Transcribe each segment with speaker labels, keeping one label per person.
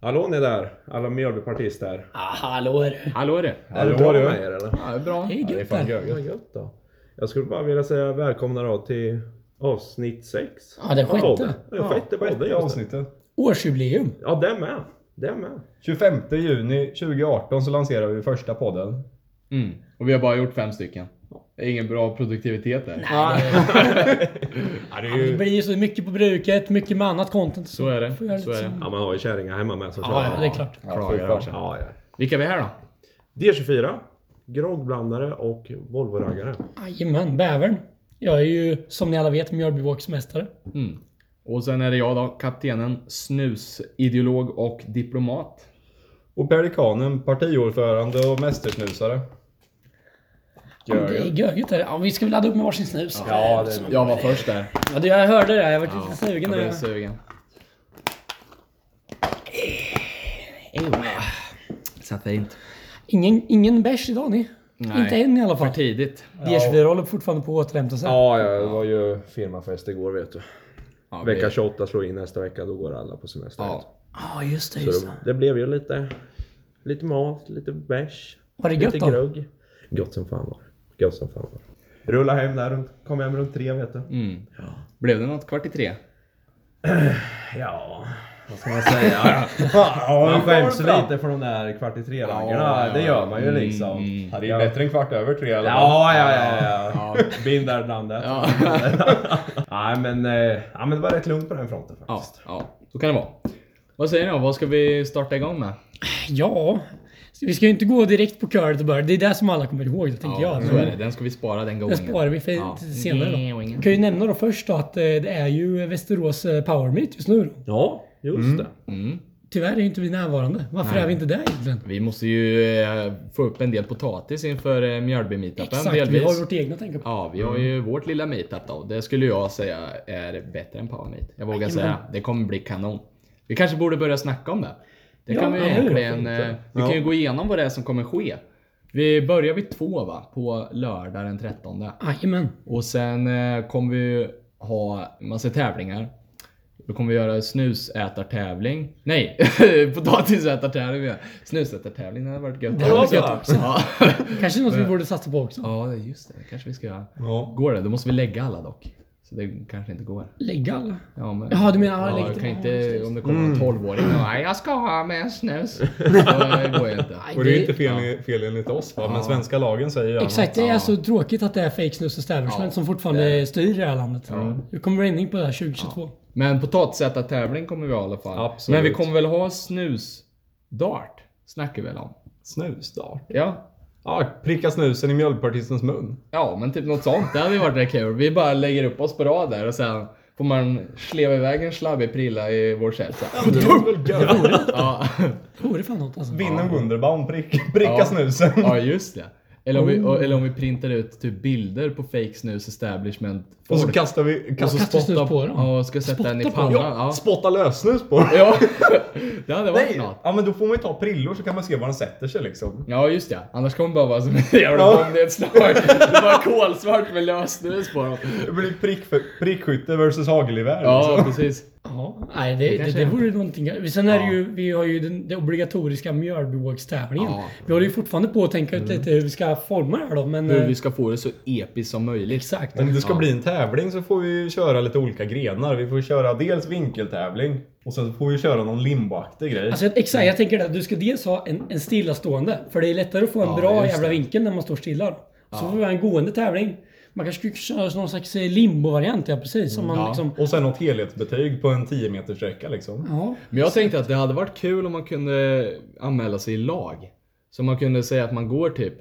Speaker 1: hallå ni där, alla Mjölbypartister.
Speaker 2: Ah, hallå du.
Speaker 3: Hallå du!
Speaker 1: Är det
Speaker 4: Hallå,
Speaker 1: bra
Speaker 4: du.
Speaker 1: med er eller?
Speaker 3: Ja, det är bra.
Speaker 2: Hej
Speaker 4: Ja, det är fan
Speaker 2: gubben.
Speaker 4: gött.
Speaker 1: Vad gött då. Jag skulle bara vilja säga välkomna då till avsnitt 6.
Speaker 2: Ja, den sjätte.
Speaker 1: Ja, sjätte podden
Speaker 4: sjätte
Speaker 1: just nu.
Speaker 4: avsnittet.
Speaker 2: Årsjubileum.
Speaker 1: Ja, det med. Det med.
Speaker 4: 25 juni 2018 så lanserar vi första podden.
Speaker 3: Mm. Och vi har bara gjort fem stycken. Det är ingen bra produktivitet där.
Speaker 4: Ja, det är
Speaker 2: Det blir ju så mycket på bruket, mycket med annat content.
Speaker 3: Så är det.
Speaker 2: Får göra lite
Speaker 3: Så är det.
Speaker 2: som-
Speaker 1: Ja, man har ju kärringar hemma med som
Speaker 2: Ja, ja, det är klart.
Speaker 4: Ja, fy
Speaker 3: Klagar
Speaker 4: fan.
Speaker 3: och så.
Speaker 1: Ja, ja.
Speaker 3: Vilka är vi här då?
Speaker 1: D24, groggblandare och Volvo-raggare.
Speaker 2: Jajamän, bävern. Jag är ju som ni alla vet Mjölbyvågsmästare.
Speaker 3: Mm. Och sen är det jag då, kaptenen, snusideolog och diplomat.
Speaker 4: Och Pelikanen, partiordförande och mästersnusare.
Speaker 2: Ja, men Det är göget här. Ja, vi ska väl ladda upp med varsin snus.
Speaker 4: Ja, det är
Speaker 3: Jag var först där.
Speaker 2: Ja, du, jag hörde det. Jag vart lite
Speaker 3: Jag
Speaker 2: sugen. när
Speaker 3: blev
Speaker 2: Jag
Speaker 3: sugen. Ah. Satt fint.
Speaker 2: Ingen, ingen bärs idag ni.
Speaker 3: Nej.
Speaker 2: Inte än i alla fall.
Speaker 3: För tidigt.
Speaker 2: D24 håller fortfarande på att återhämta sig.
Speaker 1: Ja, ja, det var ju firmafest igår vet du.
Speaker 3: Ja, vi-
Speaker 1: Vecka 28 slår in nästa vecka, då går alla på semester.
Speaker 3: Ja.
Speaker 2: Ja, just det. Just
Speaker 1: Så
Speaker 2: det.
Speaker 1: det blev ju lite, lite mat, lite bärs,
Speaker 2: Var det
Speaker 1: lite
Speaker 2: gött då?
Speaker 1: grogg. Gott som fan var det. Gott som fan var det. Rulla hem där runt, kom hem runt tre vet du.
Speaker 3: Mm. Blev det något kvart i tre?
Speaker 1: Ja, vad ska man säga? man skäms ju lite för de där kvart i tre-raggarna.
Speaker 3: Ja, Mm. ja,
Speaker 1: Det gör man ju liksom.
Speaker 4: Ja, det är bättre än kvart över tre i alla fall.
Speaker 1: Ja, ja, ja. ja. Been there, done that.
Speaker 3: Ja.
Speaker 1: Nej, men, eh, ja, men det var rätt lugnt på den fronten
Speaker 3: Ja,
Speaker 1: faktiskt.
Speaker 3: ja, så kan det vara. Vad säger ni då? Vad ska vi starta igång med?
Speaker 2: Ja. Så Vi ska ju inte gå direkt på köret och börja. Det är det som alla kommer ihåg, det tänker jag.
Speaker 3: så är det. Den ska vi spara, den gången.
Speaker 2: Mm. Den sparar vi för
Speaker 3: Ja.
Speaker 2: senare
Speaker 3: Mm,
Speaker 2: då.
Speaker 3: och ingen.
Speaker 2: Jag kan ju nämna då först då att eh, det är ju Västerås eh, Power Meet just nu då.
Speaker 1: Ja, just det.
Speaker 3: Mm.
Speaker 2: Tyvärr är ju inte vi närvarande. Varför är vi inte där egentligen?
Speaker 3: Vi måste ju eh, få upp en del potatis inför eh, Mjölby-meetupen
Speaker 2: Exakt, vi har Mm. vårt egna att tänka på.
Speaker 3: Ja, vi har ju vårt lilla meetup då. Det skulle jag säga är bättre än Power Meet. Jag vågar säga. Det kommer bli kanon. Vi kanske borde börja snacka om det. Det
Speaker 2: Ja,
Speaker 3: kan vi
Speaker 2: eller hur?
Speaker 3: egentligen... eh, Vi kan ju gå igenom vad det är som kommer ske. Vi börjar vid två va? På lördag den 13.
Speaker 2: Jajamän.
Speaker 3: Och sen eh, kommer vi ha massa tävlingar. Då kommer vi göra snusätartävling. Nej! Potatisätartävling menar jag. Snusätartävling, det hade varit gött.
Speaker 2: Det hade varit gött också.
Speaker 3: Ja.
Speaker 2: Kanske något vi borde satsa på också.
Speaker 3: ja, det är just det. Det kanske vi ska göra.
Speaker 4: Ja.
Speaker 3: Går det? Då måste vi lägga alla dock. Så det kanske inte går.
Speaker 2: Lägga alla.
Speaker 3: Ja, men...
Speaker 2: Ja, du menar alla
Speaker 3: Ja,
Speaker 2: lägger
Speaker 3: jag kan
Speaker 2: till-
Speaker 3: inte, om det kommer
Speaker 4: Mm.
Speaker 3: en 12-åring och Nej, jag ska ha med en snus. Det går ju inte.
Speaker 2: Nej,
Speaker 4: Och det är ju inte fel, fel enligt oss va? Men svenska lagen säger ju annat.
Speaker 2: Exakt, det är så tråkigt att det är fake snus och establishment som fortfarande styr det här landet. Det kommer ändring på det här 2022.
Speaker 3: Men potatisätartävling kommer vi ha i alla fall.
Speaker 4: Absolut.
Speaker 3: Men vi kommer väl ha snusdart? Snackar vi väl om?
Speaker 4: Snusdart.
Speaker 3: Ja.
Speaker 4: Ja, pricka snusen i mjölkpartistens mun.
Speaker 3: Ja, men typ något sånt. Det hade ju varit rätt kul. Vi bara lägger upp oss på rad där och sen får man sleva iväg en slabbig prilla i vår käft. så här.
Speaker 4: Det är väl gött?
Speaker 3: Ja.
Speaker 2: Det vore fan något alltså.
Speaker 4: Vinn en Wunderbaum, prick, pricka
Speaker 3: Ja.
Speaker 4: snusen.
Speaker 3: ja, just det. Eller om, vi, eller om vi printar ut typ bilder på fake snus establishment.
Speaker 4: Och så
Speaker 3: folk.
Speaker 4: kastar vi...
Speaker 3: Och
Speaker 4: Kastar,
Speaker 3: så
Speaker 2: Kastar snus
Speaker 3: spotta
Speaker 2: på dem.
Speaker 3: Ja, och ska sätta den i
Speaker 2: Spotta på dem.
Speaker 3: pannan. Ja.
Speaker 4: Spotta lössnus på dem.
Speaker 3: ja. Det hade varit
Speaker 4: Nej,
Speaker 3: något.
Speaker 4: ja men då får man ju ta prillor så kan man se var den sätter sig liksom.
Speaker 3: Ja just det, annars kommer det bara vara som en jävla
Speaker 4: Ja.
Speaker 3: bombnedslag. Det är bara kolsvart med lössnus på dem.
Speaker 4: Det blir prick prickskytte versus hagelgevär.
Speaker 3: Ja
Speaker 4: liksom.
Speaker 3: precis.
Speaker 2: Ja, nej, det, det,
Speaker 3: kanske
Speaker 2: det
Speaker 3: är.
Speaker 2: vore någonting. Sen är det ju, vi har ju den, den obligatoriska Mjölbyvågstävlingen.
Speaker 3: Ja. Mm.
Speaker 2: Vi håller ju fortfarande på att tänka ut lite hur vi ska forma det här då, men...
Speaker 3: Hur
Speaker 2: eh,
Speaker 3: vi ska få det så episkt som möjligt.
Speaker 2: Exakt.
Speaker 4: Men om det ska bli en tävling så får vi ju köra lite olika grenar. Vi får ju köra dels vinkeltävling och sen får vi köra någon limboaktig grej.
Speaker 2: Alltså, jag- exakt, jag tänker det. att Du ska dels ha en, en stillastående. För det är lättare att få en
Speaker 3: Ja,
Speaker 2: bra
Speaker 3: just
Speaker 2: jävla
Speaker 3: det.
Speaker 2: vinkel när man står stilla. då. Så får vi ha en gående tävling. Man kanske skulle köra någon slags eh, limbo-variant, ja precis. Som man
Speaker 3: Mm, Ja.
Speaker 2: liksom...
Speaker 4: Och sen något helhetsbetyg på en 10 meters sträcka liksom.
Speaker 2: Ja.
Speaker 3: Men jag tänkte att det hade varit kul om man kunde anmäla sig i lag. Så man kunde säga att man går typ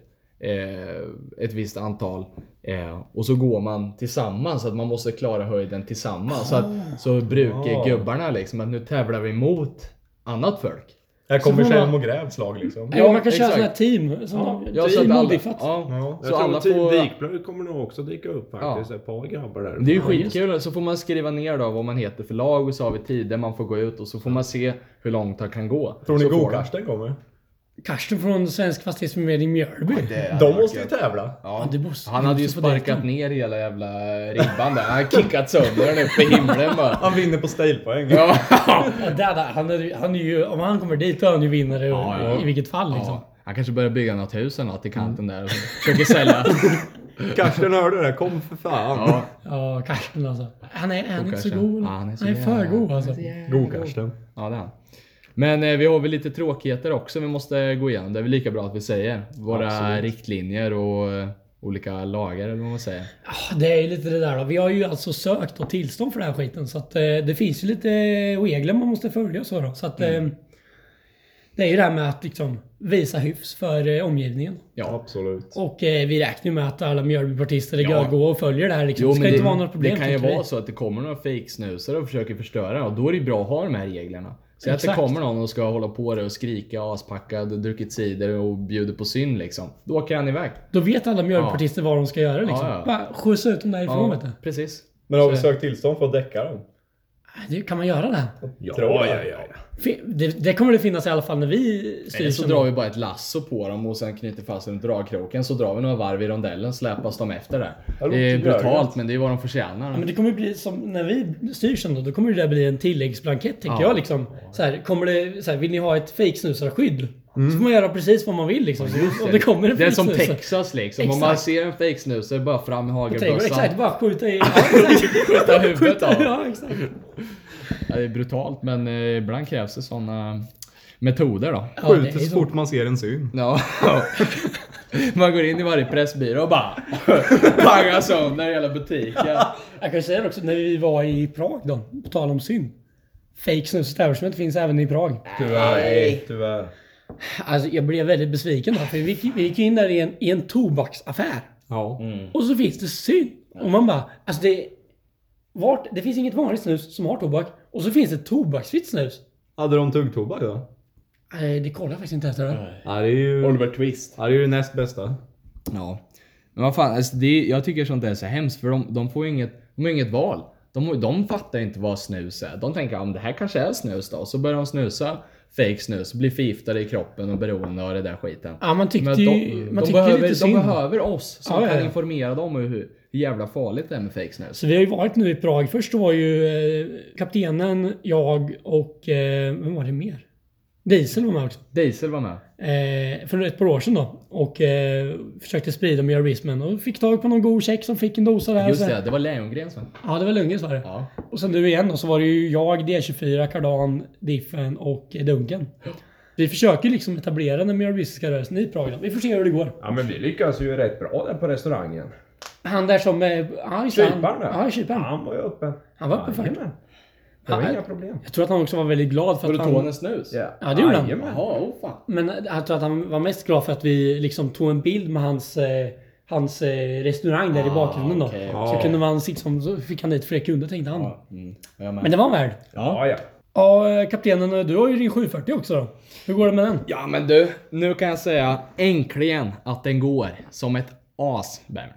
Speaker 3: eh, ett visst antal eh, och så går man tillsammans. Att man måste klara höjden tillsammans. Så, att, så brukar
Speaker 4: Ah.
Speaker 3: gubbarna liksom att nu tävlar vi mot annat folk.
Speaker 4: Här kommer
Speaker 2: får man- Mm.
Speaker 4: Kjell och Grävs lag liksom.
Speaker 2: Ja, man kan
Speaker 3: exakt.
Speaker 2: köra sådana här team. Som de,
Speaker 3: Ja,
Speaker 4: Typ
Speaker 3: så att
Speaker 2: team
Speaker 3: alla-
Speaker 2: modifierat.
Speaker 3: ja,
Speaker 4: Ja. typ
Speaker 3: så alla
Speaker 1: Team
Speaker 3: får...
Speaker 1: Wikblad kommer nog också dyka upp faktiskt. Ett par grabbar där.
Speaker 3: Det är ju skitkul. Så får man skriva ner då vad man heter för lag och så har vi tider man får gå ut och så får man se hur långt han kan gå.
Speaker 4: Tror ni
Speaker 3: Så får
Speaker 4: Go-Karsten kommer?
Speaker 3: de-
Speaker 2: Karsten från Svensk Fastighetsförmedling Mjölby.
Speaker 3: Det hade
Speaker 4: De
Speaker 3: varit
Speaker 4: måste ju
Speaker 3: gött.
Speaker 4: tävla.
Speaker 3: Ja.
Speaker 2: Ja, det måste-
Speaker 3: han
Speaker 2: det
Speaker 3: hade ju
Speaker 2: måste få det.
Speaker 3: sparkat ner hela jävla ribban där. Han kickat sönder den upp i himlen bara.
Speaker 4: Han vinner på stailpoäng.
Speaker 3: Ja.
Speaker 2: Ja, där, där. Han, är, han är ju, om han kommer dit då är han ju vinnare
Speaker 3: Ja, ja.
Speaker 2: i vilket fall liksom.
Speaker 3: Ja. Han kanske börjar bygga något hus eller något i kanten där och försöker sälja.
Speaker 4: Karsten hörde det, där. kom för fan.
Speaker 3: Ja.
Speaker 2: Ja, Karsten alltså. Han är, han är inte så
Speaker 3: Karsten.
Speaker 2: god.
Speaker 3: Ja, han är så
Speaker 2: för
Speaker 3: jävla-
Speaker 2: god alltså.
Speaker 4: God Karsten.
Speaker 3: Ja, det är han. Men eh, vi har väl lite tråkigheter också vi måste gå igenom. Det är väl lika bra att vi säger. Våra
Speaker 4: Absolut.
Speaker 3: riktlinjer och eh, olika lagar eller vad man säger.
Speaker 2: Ja, Det är ju lite det där då. Vi har ju alltså sökt och tillstånd för den här skiten. Så att eh, det finns ju lite regler man måste följa och så då. Så att,
Speaker 3: Mm.
Speaker 2: eh, det är ju det här med att liksom visa hyfs för eh, omgivningen.
Speaker 3: Ja.
Speaker 4: Absolut.
Speaker 2: Och eh, vi räknar ju med att alla Mjölbypartister är
Speaker 3: Ja.
Speaker 2: gå och följer det här liksom. det ska inte vara något problem.
Speaker 3: det kan ju
Speaker 2: tycker vi.
Speaker 3: vara så att det kommer några fejksnusare och försöker förstöra och då är det ju bra att ha de här reglerna. Så att det
Speaker 2: Exakt.
Speaker 3: kommer någon och ska hålla på det och skrika aspackad, druckit cider och bjuder på synd liksom. Då åker han iväg.
Speaker 2: Då vet alla Mjölbypartister vad de ska göra liksom.
Speaker 3: Ja, ja.
Speaker 2: Bara skjutsa ut dem därifrån vet du.
Speaker 3: precis.
Speaker 4: Men har vi
Speaker 3: Så-
Speaker 4: sökt tillstånd för att däcka dem?
Speaker 2: Det- Kan man göra det? här?
Speaker 1: Ja,
Speaker 4: Tror jag.
Speaker 1: ja, ja.
Speaker 2: Fin- Det, det kommer det finnas i alla fall när vi styr.
Speaker 3: Eller så
Speaker 2: som-
Speaker 3: drar vi bara ett lasso på dem och sen knyter fast dem i dragkroken så drar vi några varv i rondellen släpas de efter där.
Speaker 4: låter
Speaker 3: Det är brutalt
Speaker 4: görgött.
Speaker 3: men det är vad de förtjänar.
Speaker 2: Ja, men det kommer bli som när vi styr sen då. Då kommer det där bli en tilläggsblankett tänker
Speaker 3: Ja.
Speaker 2: jag liksom. Så här, kommer det, så här, vill ni ha ett fejksnusarskydd? Så får man göra precis vad man vill liksom. Så, om det kommer en
Speaker 3: det är som
Speaker 2: fejksnusare.
Speaker 3: Texas liksom. Om
Speaker 2: Exakt.
Speaker 3: man ser en fejksnusare bara fram med
Speaker 2: I trädgården, Exakt,
Speaker 3: hagelbössan.
Speaker 2: bara skjuta i... Ja, exakt.
Speaker 3: Skjuta huvudet av
Speaker 2: skjuta,
Speaker 3: dem.
Speaker 2: ja, exakt.
Speaker 3: Ja, det är brutalt men eh, ibland krävs det sådana metoder då.
Speaker 2: Ja, det är
Speaker 4: Skjuter
Speaker 2: ju
Speaker 4: så
Speaker 2: så.
Speaker 4: fort man ser en syn.
Speaker 3: Ja. Man går in i varje pressbyrå och bara pangar sönder hela butiken.
Speaker 2: Jag kan säga det också, när vi var i Prag då, på tal om synd. Fake snus establishment finns även i Prag.
Speaker 1: Tyvärr. Tyvärr.
Speaker 2: Alltså jag blev väldigt besviken då, för vi gick, vi gick in där i en, i en tobaksaffär.
Speaker 4: Ja.
Speaker 2: Och så finns det syn. Och man bara, alltså det... Vart, det finns inget vanligt snus som har tobak. Och så finns det tobaksfritt snus.
Speaker 4: Hade de tuggtobak då?
Speaker 2: Nej, det kollar jag faktiskt inte efter. Det.
Speaker 4: Ja, det är ju,
Speaker 3: Oliver Twist.
Speaker 4: ja, det, är ju det näst bästa.
Speaker 3: Ja. Men vad fan, alltså det, jag tycker sånt där är så hemskt för de, de får ju inget, de har inget val. De, har- de fattar ju inte vad snus är. De tänker om det här kanske är snus då. Och så börjar de snusa fake snus, blir förgiftade i kroppen och beroende av det där skiten.
Speaker 2: Ja, man tyckte
Speaker 3: Men
Speaker 2: ju...
Speaker 3: de,
Speaker 2: man tyckte
Speaker 3: de,
Speaker 2: ju lite
Speaker 3: behöver, de
Speaker 2: synd.
Speaker 3: behöver oss som
Speaker 2: Ja, ja,
Speaker 3: kan
Speaker 2: ja.
Speaker 3: informera dem om hur, hur jävla farligt det är med fake snus.
Speaker 2: Så vi har ju varit nu i Prag. Först var ju eh, kaptenen, jag och... Eh, vem var det mer? Diesel var med också.
Speaker 3: Diesel var med.
Speaker 2: Eh, för ett par år sedan då. Och eh, försökte sprida mjörismen. Och fick tag på någon god tjeck som fick en dosa där.
Speaker 3: Just
Speaker 2: Så-
Speaker 3: det, det var Lejongren som...
Speaker 2: Ja, det var Lundgrens var det.
Speaker 3: Ja.
Speaker 2: Och sen du igen då, så var det ju jag, D24, Kardan, Diffen och Dunken. Vi försöker liksom etablera den miljöristiska rörelsen i Prag. då. Vi får se hur det går.
Speaker 1: Ja, men vi lyckas ju rätt bra där på restaurangen.
Speaker 2: Mm. Han där som... eh, Ja, just det, han-
Speaker 1: Kyparen där.
Speaker 2: Ja, kyparen.
Speaker 1: Han var ju öppen.
Speaker 2: Han var öppen först.
Speaker 1: Jajamän. Det var
Speaker 2: Ja,
Speaker 1: inga problem.
Speaker 2: Jag tror att han också var väldigt glad för
Speaker 3: Var
Speaker 2: att
Speaker 3: det
Speaker 2: han...
Speaker 3: Tony Snus?
Speaker 2: Ja, det gjorde han.
Speaker 1: Jajamän.
Speaker 3: Jaha, oh fan.
Speaker 2: Men jag tror att han var mest glad för att vi liksom tog en bild med hans... eh, Hans eh, restaurang där i
Speaker 3: Ah,
Speaker 2: bakgrunden då.
Speaker 3: okej.
Speaker 2: Så kunde man sitta som... Så fick han dit fler kunder tänkte han.
Speaker 3: Mm, jag med.
Speaker 2: Men det var han värd.
Speaker 1: Ja, ja.
Speaker 2: Ja, eh, kaptenen, du har ju din 740 också då. Hur går det med den?
Speaker 3: Ja men du, nu kan jag säga äntligen att den går som ett as, Bern.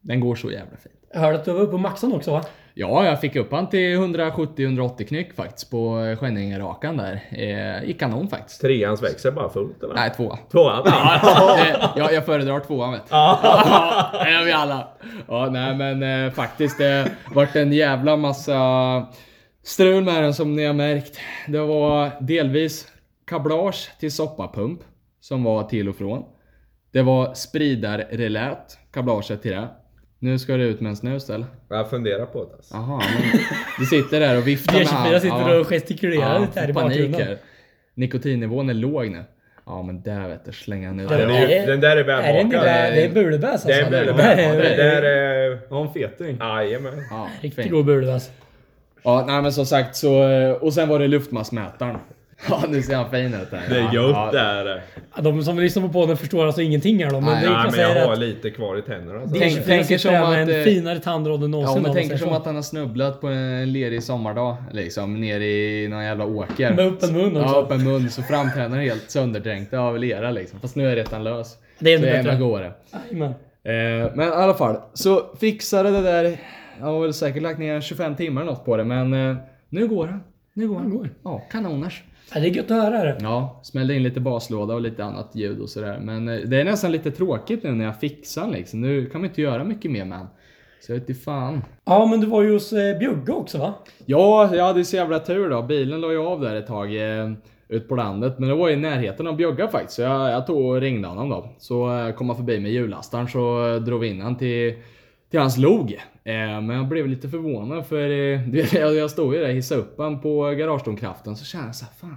Speaker 3: Den går så jävla fint.
Speaker 2: Jag hörde att du var uppe på maxan också va?
Speaker 3: Ja, jag fick upp han till 170-180 knyck faktiskt på eh, Skänninge-rakan där. Eh, I kanon faktiskt.
Speaker 1: Treans växer bara fullt eller?
Speaker 3: Nej, tvåa.
Speaker 1: Tvåan? Ja.
Speaker 3: Eh, jag, jag föredrar tvåan vet du. Ja, det gör vi alla. Ja, nej men eh, faktiskt det vart en jävla massa strul med den som ni har märkt. Det var delvis kablage till soppapump som var till och från. Det var spridarrelät, kablaget till det. Nu ska det ut med en snus eller?
Speaker 1: Jag funderar på det. Alltså.
Speaker 3: Jaha, men du sitter där och viftar med
Speaker 2: D24
Speaker 3: handen.
Speaker 2: sitter och gestikulerar lite här i
Speaker 3: panik
Speaker 2: bakgrunden.
Speaker 3: här. Nikotinnivån är låg nu. Ja men där vet du, slänga den ut.
Speaker 2: Ja,
Speaker 1: Den,
Speaker 2: det
Speaker 1: är, ju- den där är
Speaker 2: Är det en
Speaker 1: välbakad.
Speaker 2: lilla, det är bulebäs alltså?
Speaker 1: Det är
Speaker 2: Det
Speaker 1: väldigt
Speaker 2: är
Speaker 1: välbakad.
Speaker 2: en
Speaker 1: Det där är...
Speaker 4: Det var en feting.
Speaker 1: Jajamän.
Speaker 3: Ja,
Speaker 2: Riktigt
Speaker 3: fint.
Speaker 2: god bulebäs.
Speaker 3: Ja, nej men som sagt så... eh, Och sen var det luftmassmätaren. Ja, nu ser han fin ut där.
Speaker 4: Det är
Speaker 3: ja,
Speaker 4: gött det
Speaker 3: ja.
Speaker 4: är det.
Speaker 2: De som lyssnar på podden förstår alltså ingenting här då, men
Speaker 3: Nej,
Speaker 2: det är
Speaker 1: Nej, men
Speaker 2: placerat
Speaker 1: jag har
Speaker 2: att
Speaker 1: lite kvar i tänderna. Alltså.
Speaker 3: Tänk-
Speaker 2: D24
Speaker 3: tänker
Speaker 2: sitter
Speaker 3: som
Speaker 2: här med
Speaker 3: att, eh,
Speaker 2: en finare tandrad än
Speaker 3: Ja,
Speaker 2: någonsin.
Speaker 3: men
Speaker 2: om man
Speaker 3: tänker
Speaker 2: säger
Speaker 3: som
Speaker 2: så.
Speaker 3: att han har snubblat på en lerig sommardag. Liksom, ner i någon jävla åker.
Speaker 2: Med öppen mun också.
Speaker 3: Ja, öppen mun. Så framtänderna är helt sönderdränkta av lera liksom. Fast nu är rättan lös.
Speaker 2: Det är ännu
Speaker 3: så
Speaker 2: bättre.
Speaker 3: godare.
Speaker 2: Jajamän.
Speaker 3: Eh, men i alla fall, så fixade det där. Jag har väl säkert lagt ner 25 timmar eller något på det, men eh, nu går han. Nu går han.
Speaker 2: går.
Speaker 3: Ja, kanoners.
Speaker 2: Ja, det är gött att höra det.
Speaker 3: Ja, smällde in lite baslåda och lite annat ljud och sådär. Men eh, det är nästan lite tråkigt nu när jag fixar den liksom. Nu kan man inte göra mycket mer med den. Så jag vet inte fan.
Speaker 2: Ja, men du var ju hos eh, Bjugge också va?
Speaker 3: Ja, jag hade så jävla tur då. Bilen la ju av där ett tag eh, ut på landet. Men det var i närheten av Bjögga faktiskt. Så jag, jag tog och ringde honom då. Så eh, kom han förbi med hjullastaren så eh, drog vi in han till, till hans log. Eh, men jag blev lite förvånad för eh, du vet, jag, jag stod ju där och hissade upp han på garagedomkraften. Så kände jag såhär, fan.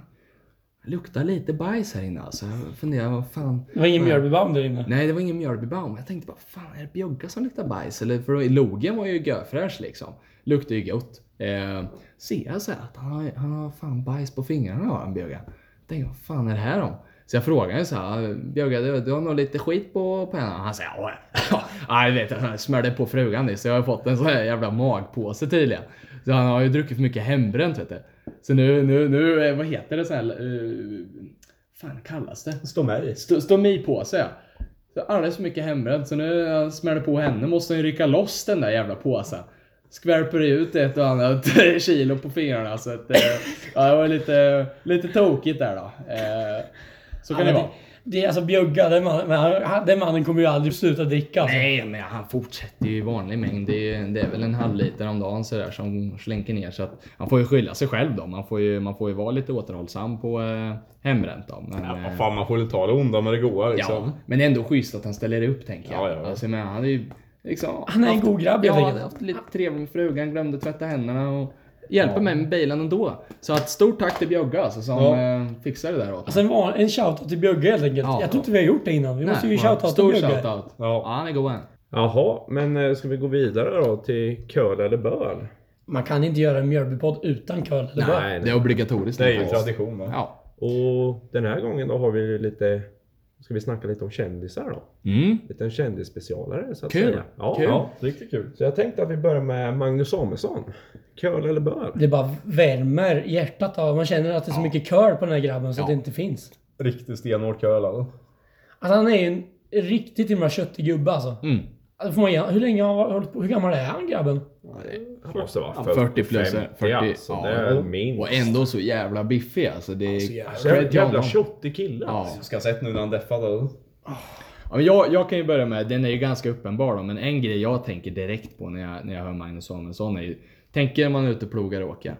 Speaker 3: Det luktar lite bajs här inne alltså. Jag funderar, vad fan.
Speaker 2: Det var ingen Mjölbybaum där inne.
Speaker 3: Nej, det var ingen Mjölbybaum. Jag tänkte bara, fan är det Bjogga som luktar bajs? Eller, för logen var ju görfräsch liksom. Luktar ju gott. Eh, ser jag så här att han har, han har fan bajs på fingrarna har han Bjogga. Tänkte, vad fan är det här om? Så jag frågade så här, Bjogga du, du har nog lite skit på, på henne? Han säger, "Ja, ja, Ja, jag vet, jag smällde på frugan nyss. så Jag har fått en sån här jävla magpåse tydligen. Så han har ju druckit för mycket hembränt vet du. Så nu, nu, nu, eh, vad heter det sån här, eh, fan kallas det?
Speaker 1: Stå med i.
Speaker 3: Stå, stå mig på sig. ja. Så Alldeles för mycket hembränt, så nu när jag smäller på henne måste hon ju rycka loss den där jävla påsen. Skvärper ut ett och annat kilo på fingrarna så att, eh, ja, det var lite, lite tokigt där då. Eh, så kan
Speaker 2: Ja, men
Speaker 3: det vara.
Speaker 2: Det är alltså Bjugga, den mannen, men han- han- den mannen kommer ju aldrig sluta dricka alltså.
Speaker 3: Nej, men han fortsätter ju i vanlig mängd. Det är, ju- det är väl en halv liter om dagen så där, som slänker ner. Så att han får ju skylla sig själv då. Man får ju, man får ju vara lite återhållsam på eh, hembränt då. Men,
Speaker 4: Ja,
Speaker 3: eh,
Speaker 4: vad fan, man får väl ta det onda med det goda liksom.
Speaker 3: Ja, men det är ändå schysst att han ställer upp tänker jag.
Speaker 4: Ja, ja, ja.
Speaker 3: Alltså, men han är ju liksom...
Speaker 2: Han är en
Speaker 3: haft-
Speaker 2: god grabb,
Speaker 3: Ja,
Speaker 2: helt
Speaker 3: han
Speaker 2: enkelt.
Speaker 3: har haft lite trevligt med frugan, glömde tvätta händerna och hjälper mig med bilen ändå. Så att stort tack till Bjogge alltså, som
Speaker 4: Ja.
Speaker 3: eh, fixar det där åt
Speaker 2: Alltså en, van, en shoutout till Bjugge helt enkelt.
Speaker 3: Ja.
Speaker 2: jag tror inte vi har gjort det innan. Vi måste ju
Speaker 3: Nej,
Speaker 2: shoutouta
Speaker 3: Stor
Speaker 2: Bjugge.
Speaker 3: shoutout. Ja, han är god han.
Speaker 1: Jaha, men eh, ska vi gå vidare då till köl eller böl?
Speaker 2: Man kan inte göra en Mjölbypodd utan curl. eller bra.
Speaker 1: nej.
Speaker 3: Det är obligatoriskt.
Speaker 4: Det är ju
Speaker 3: faktiskt.
Speaker 4: tradition. va?
Speaker 3: Ja.
Speaker 1: Och den här gången då har vi ju lite... Ska vi snacka lite om kändisar då?
Speaker 3: Mm.
Speaker 1: Lite en kändisspecialare så att
Speaker 3: Kul.
Speaker 1: säga. Ja,
Speaker 3: Kul.
Speaker 1: Ja.
Speaker 4: Riktigt kul.
Speaker 1: Så jag tänkte att vi börjar med Magnus Samuelsson. Köl eller böl?
Speaker 2: Det bara värmer hjärtat av. Man känner att det är så mycket curl på den här grabben så att det inte finns.
Speaker 4: Riktigt stenhård köl alltså.
Speaker 2: Alltså han är ju en riktigt himla köttig gubbe alltså.
Speaker 3: Mm.
Speaker 2: Alltså, får man, ge- hur länge har han hållit på? Hur gammal är han grabben?
Speaker 1: Han måste vara
Speaker 3: 40 plus, 40,
Speaker 1: alltså.
Speaker 3: ja.
Speaker 1: Det är minst.
Speaker 3: Och ändå så jävla biffig alltså. Det är
Speaker 1: Så jävla-
Speaker 3: cred till
Speaker 1: Jävla
Speaker 3: honom.
Speaker 1: tjottig kille.
Speaker 3: Ja.
Speaker 4: Jag ska ha sett nu när han deffade. alltså.
Speaker 3: Ja, men jag, jag kan ju börja med, den är ju ganska uppenbar då, men en grej jag tänker direkt på när jag, när jag hör Magnus Samuelsson är ju, tänker man ute och plogar och åker.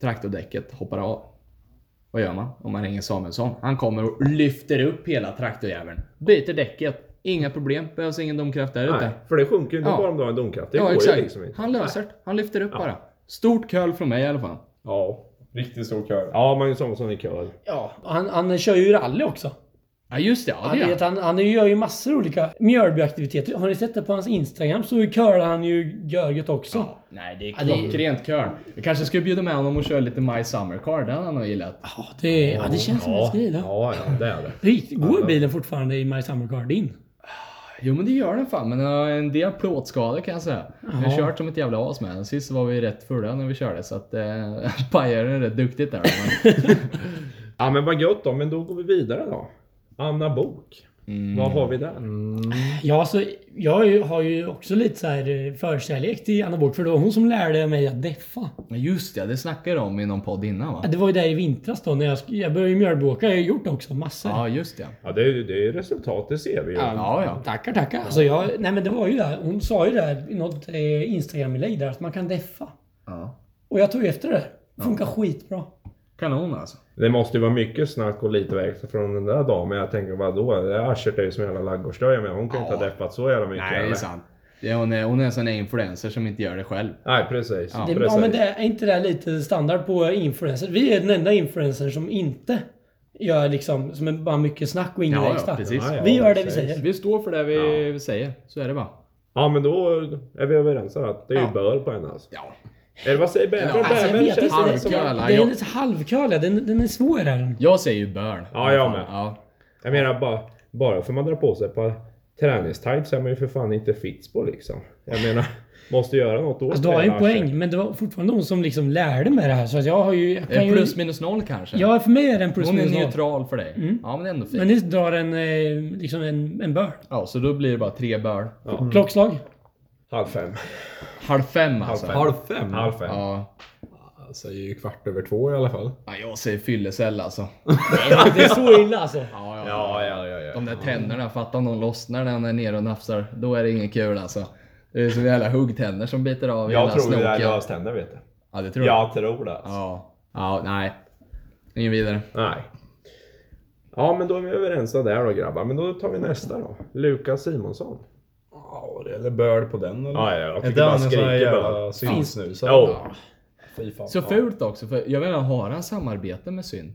Speaker 3: Traktordäcket hoppar av. Vad gör man om man ringer Samuelsson? Han kommer och lyfter upp hela traktorjäveln. Byter däcket. Inga problem. Behövs ingen domkraft där ute.
Speaker 1: Nej, för det sjunker ju inte
Speaker 3: Ja.
Speaker 1: bara om du har en domkraft. Det
Speaker 3: Ja,
Speaker 1: går
Speaker 3: exakt.
Speaker 1: ju liksom inte.
Speaker 3: Han löser det. Han lyfter upp bara. Stort köl från mig i alla fall.
Speaker 4: Ja, riktigt stor köl.
Speaker 1: Ja, Magnus Samuelsson är köl.
Speaker 2: Ja, han, han kör ju rally också.
Speaker 3: Ja, just det. Ja,
Speaker 2: Han,
Speaker 3: det
Speaker 2: vet,
Speaker 3: är.
Speaker 2: han, han gör ju massor olika Mjölbyaktiviteter. Har ni sett det på hans Instagram så curlar han ju görget också.
Speaker 3: Ja, nej, det är
Speaker 2: Ja, det är-
Speaker 3: klockrent köl. Jag kanske skulle bjuda med honom och köra lite My Summer Car. Den hade han nog gillat.
Speaker 2: Ja, det, ja, det känns som det ska gilla.
Speaker 1: Ja, ja, det är det.
Speaker 2: Hur gick- Går bilen fortfarande i My Summer Car din?
Speaker 3: Jo men det gör den fan, men jag har en del plåtskador kan jag säga. Jag har
Speaker 2: Jaha.
Speaker 3: kört som ett jävla as med den. Sist var vi rätt fulla när vi körde så att eh, pajade den rätt duktigt där. Men,
Speaker 1: Ja, men vad gött då. Men då går vi vidare då. Anna Bok.
Speaker 3: Mm.
Speaker 1: Vad har vi där?
Speaker 4: Mm.
Speaker 2: Ja, så jag har ju- har ju också lite så här eh, förkärlek till Anna Bok för det var hon som lärde mig att deffa.
Speaker 3: men just det, det snackade du om i någon podd innan va?
Speaker 2: Ja, Det var ju där i vintras då när jag, sk- jag började ju mjölbåka. Jag har ju gjort det också massor.
Speaker 3: Ja just det.
Speaker 1: Ja, det är ju det är ju resultat. Det ser vi ju.
Speaker 3: Ja ja.
Speaker 2: Tackar, tackar. Alltså jag, nej men det var ju där. Hon sa ju där i något eh, Instagram-inlägg där att man kan deffa.
Speaker 3: ja.
Speaker 2: Och jag tog ju efter det där. Det Funkar skitbra.
Speaker 3: Kanon alltså.
Speaker 1: Det måste ju vara mycket snack och lite växel från den där dagen. Men jag tänker vadå? Det här Aschert är ju som en jävla laggårdsdöja men hon kan ju inte ha deppat så jävla mycket.
Speaker 3: Nej det är
Speaker 1: eller?
Speaker 3: sant. Det är, hon, är, hon är en sån där influencer som inte gör det själv.
Speaker 1: Nej precis.
Speaker 3: Ja.
Speaker 2: Det,
Speaker 1: precis.
Speaker 2: ja men det är inte det här lite standard på influencers. Vi är den enda influencern som inte gör liksom, som är bara mycket snack och ingen
Speaker 3: Ja, ja,
Speaker 2: verkstad.
Speaker 3: precis.
Speaker 1: Ja, ja,
Speaker 2: vi gör det vi
Speaker 1: precis.
Speaker 2: säger.
Speaker 3: Vi står för det vi säger, så är det bara.
Speaker 1: Ja, men då är vi överens om att det är ju
Speaker 3: Ja.
Speaker 1: böl på henne alltså.
Speaker 3: Ja.
Speaker 1: Eller vad säger bävern?
Speaker 3: Ja, alltså,
Speaker 2: Alltså, jag
Speaker 1: bävern
Speaker 2: vet
Speaker 1: känns
Speaker 2: inte.
Speaker 1: det
Speaker 2: Det,
Speaker 1: som...
Speaker 3: Halvkör.
Speaker 1: att-
Speaker 2: det är lite halvkörlig. Den, den är svår är den.
Speaker 3: Jag säger ju burn.
Speaker 1: Ja, jag med.
Speaker 3: Ja.
Speaker 1: Jag menar bara, bara för man drar på sig ett par träningstights så är man ju för fan inte fits på liksom. Jag menar, måste göra något åt
Speaker 2: Alltså, du har ju
Speaker 1: det
Speaker 2: en
Speaker 1: här,
Speaker 2: poäng, men det var fortfarande hon som liksom lärde mig det här. Så att jag har ju... Jag kan
Speaker 3: Eh,
Speaker 2: ju
Speaker 3: Plus minus noll kanske?
Speaker 2: ja, för mig är det en plus
Speaker 3: Hon är
Speaker 2: minus noll.
Speaker 3: neutral för dig. Ja Mm. men det är ändå fint.
Speaker 2: Men ni drar en, eh, liksom en, en bör.
Speaker 3: Ja, så då blir det bara tre burn.
Speaker 2: Klockslag.
Speaker 1: Halv fem.
Speaker 3: Halv fem alltså.
Speaker 1: Halv fem?
Speaker 4: fem?
Speaker 1: Halv fem.
Speaker 3: Ja.
Speaker 4: Jag säger ju kvart över två i alla fall.
Speaker 3: Ja, jag säger fyllecell alltså.
Speaker 2: Det är så illa alltså.
Speaker 3: Ja,
Speaker 4: ja, ja.
Speaker 3: De där tänderna, fatta om de lossnar när han är nere och nafsar. Då är det ingen kul alltså. Det är som jävla huggtänder som biter av
Speaker 4: Jag
Speaker 3: hela
Speaker 4: tror det är
Speaker 3: snoken.
Speaker 4: löständer vet du.
Speaker 3: Ja, det tror jag.
Speaker 4: Jag tror det. alltså.
Speaker 3: Ja. Ja, nej. Ingen vidare.
Speaker 1: Nej. Ja, men då är vi överens om det här då grabbar. Men då tar vi nästa då. Lukas Simonsson.
Speaker 4: Ja, det- Eller böl på den eller?
Speaker 1: Ja, ja, jag
Speaker 4: Är
Speaker 1: tycker
Speaker 4: det
Speaker 1: bara
Speaker 4: han en sån här
Speaker 1: skriker bara.
Speaker 4: jävla synsnusare?
Speaker 1: Ja.
Speaker 4: Fy fan.
Speaker 3: Så fult också, för jag vet inte, har han samarbete med syn?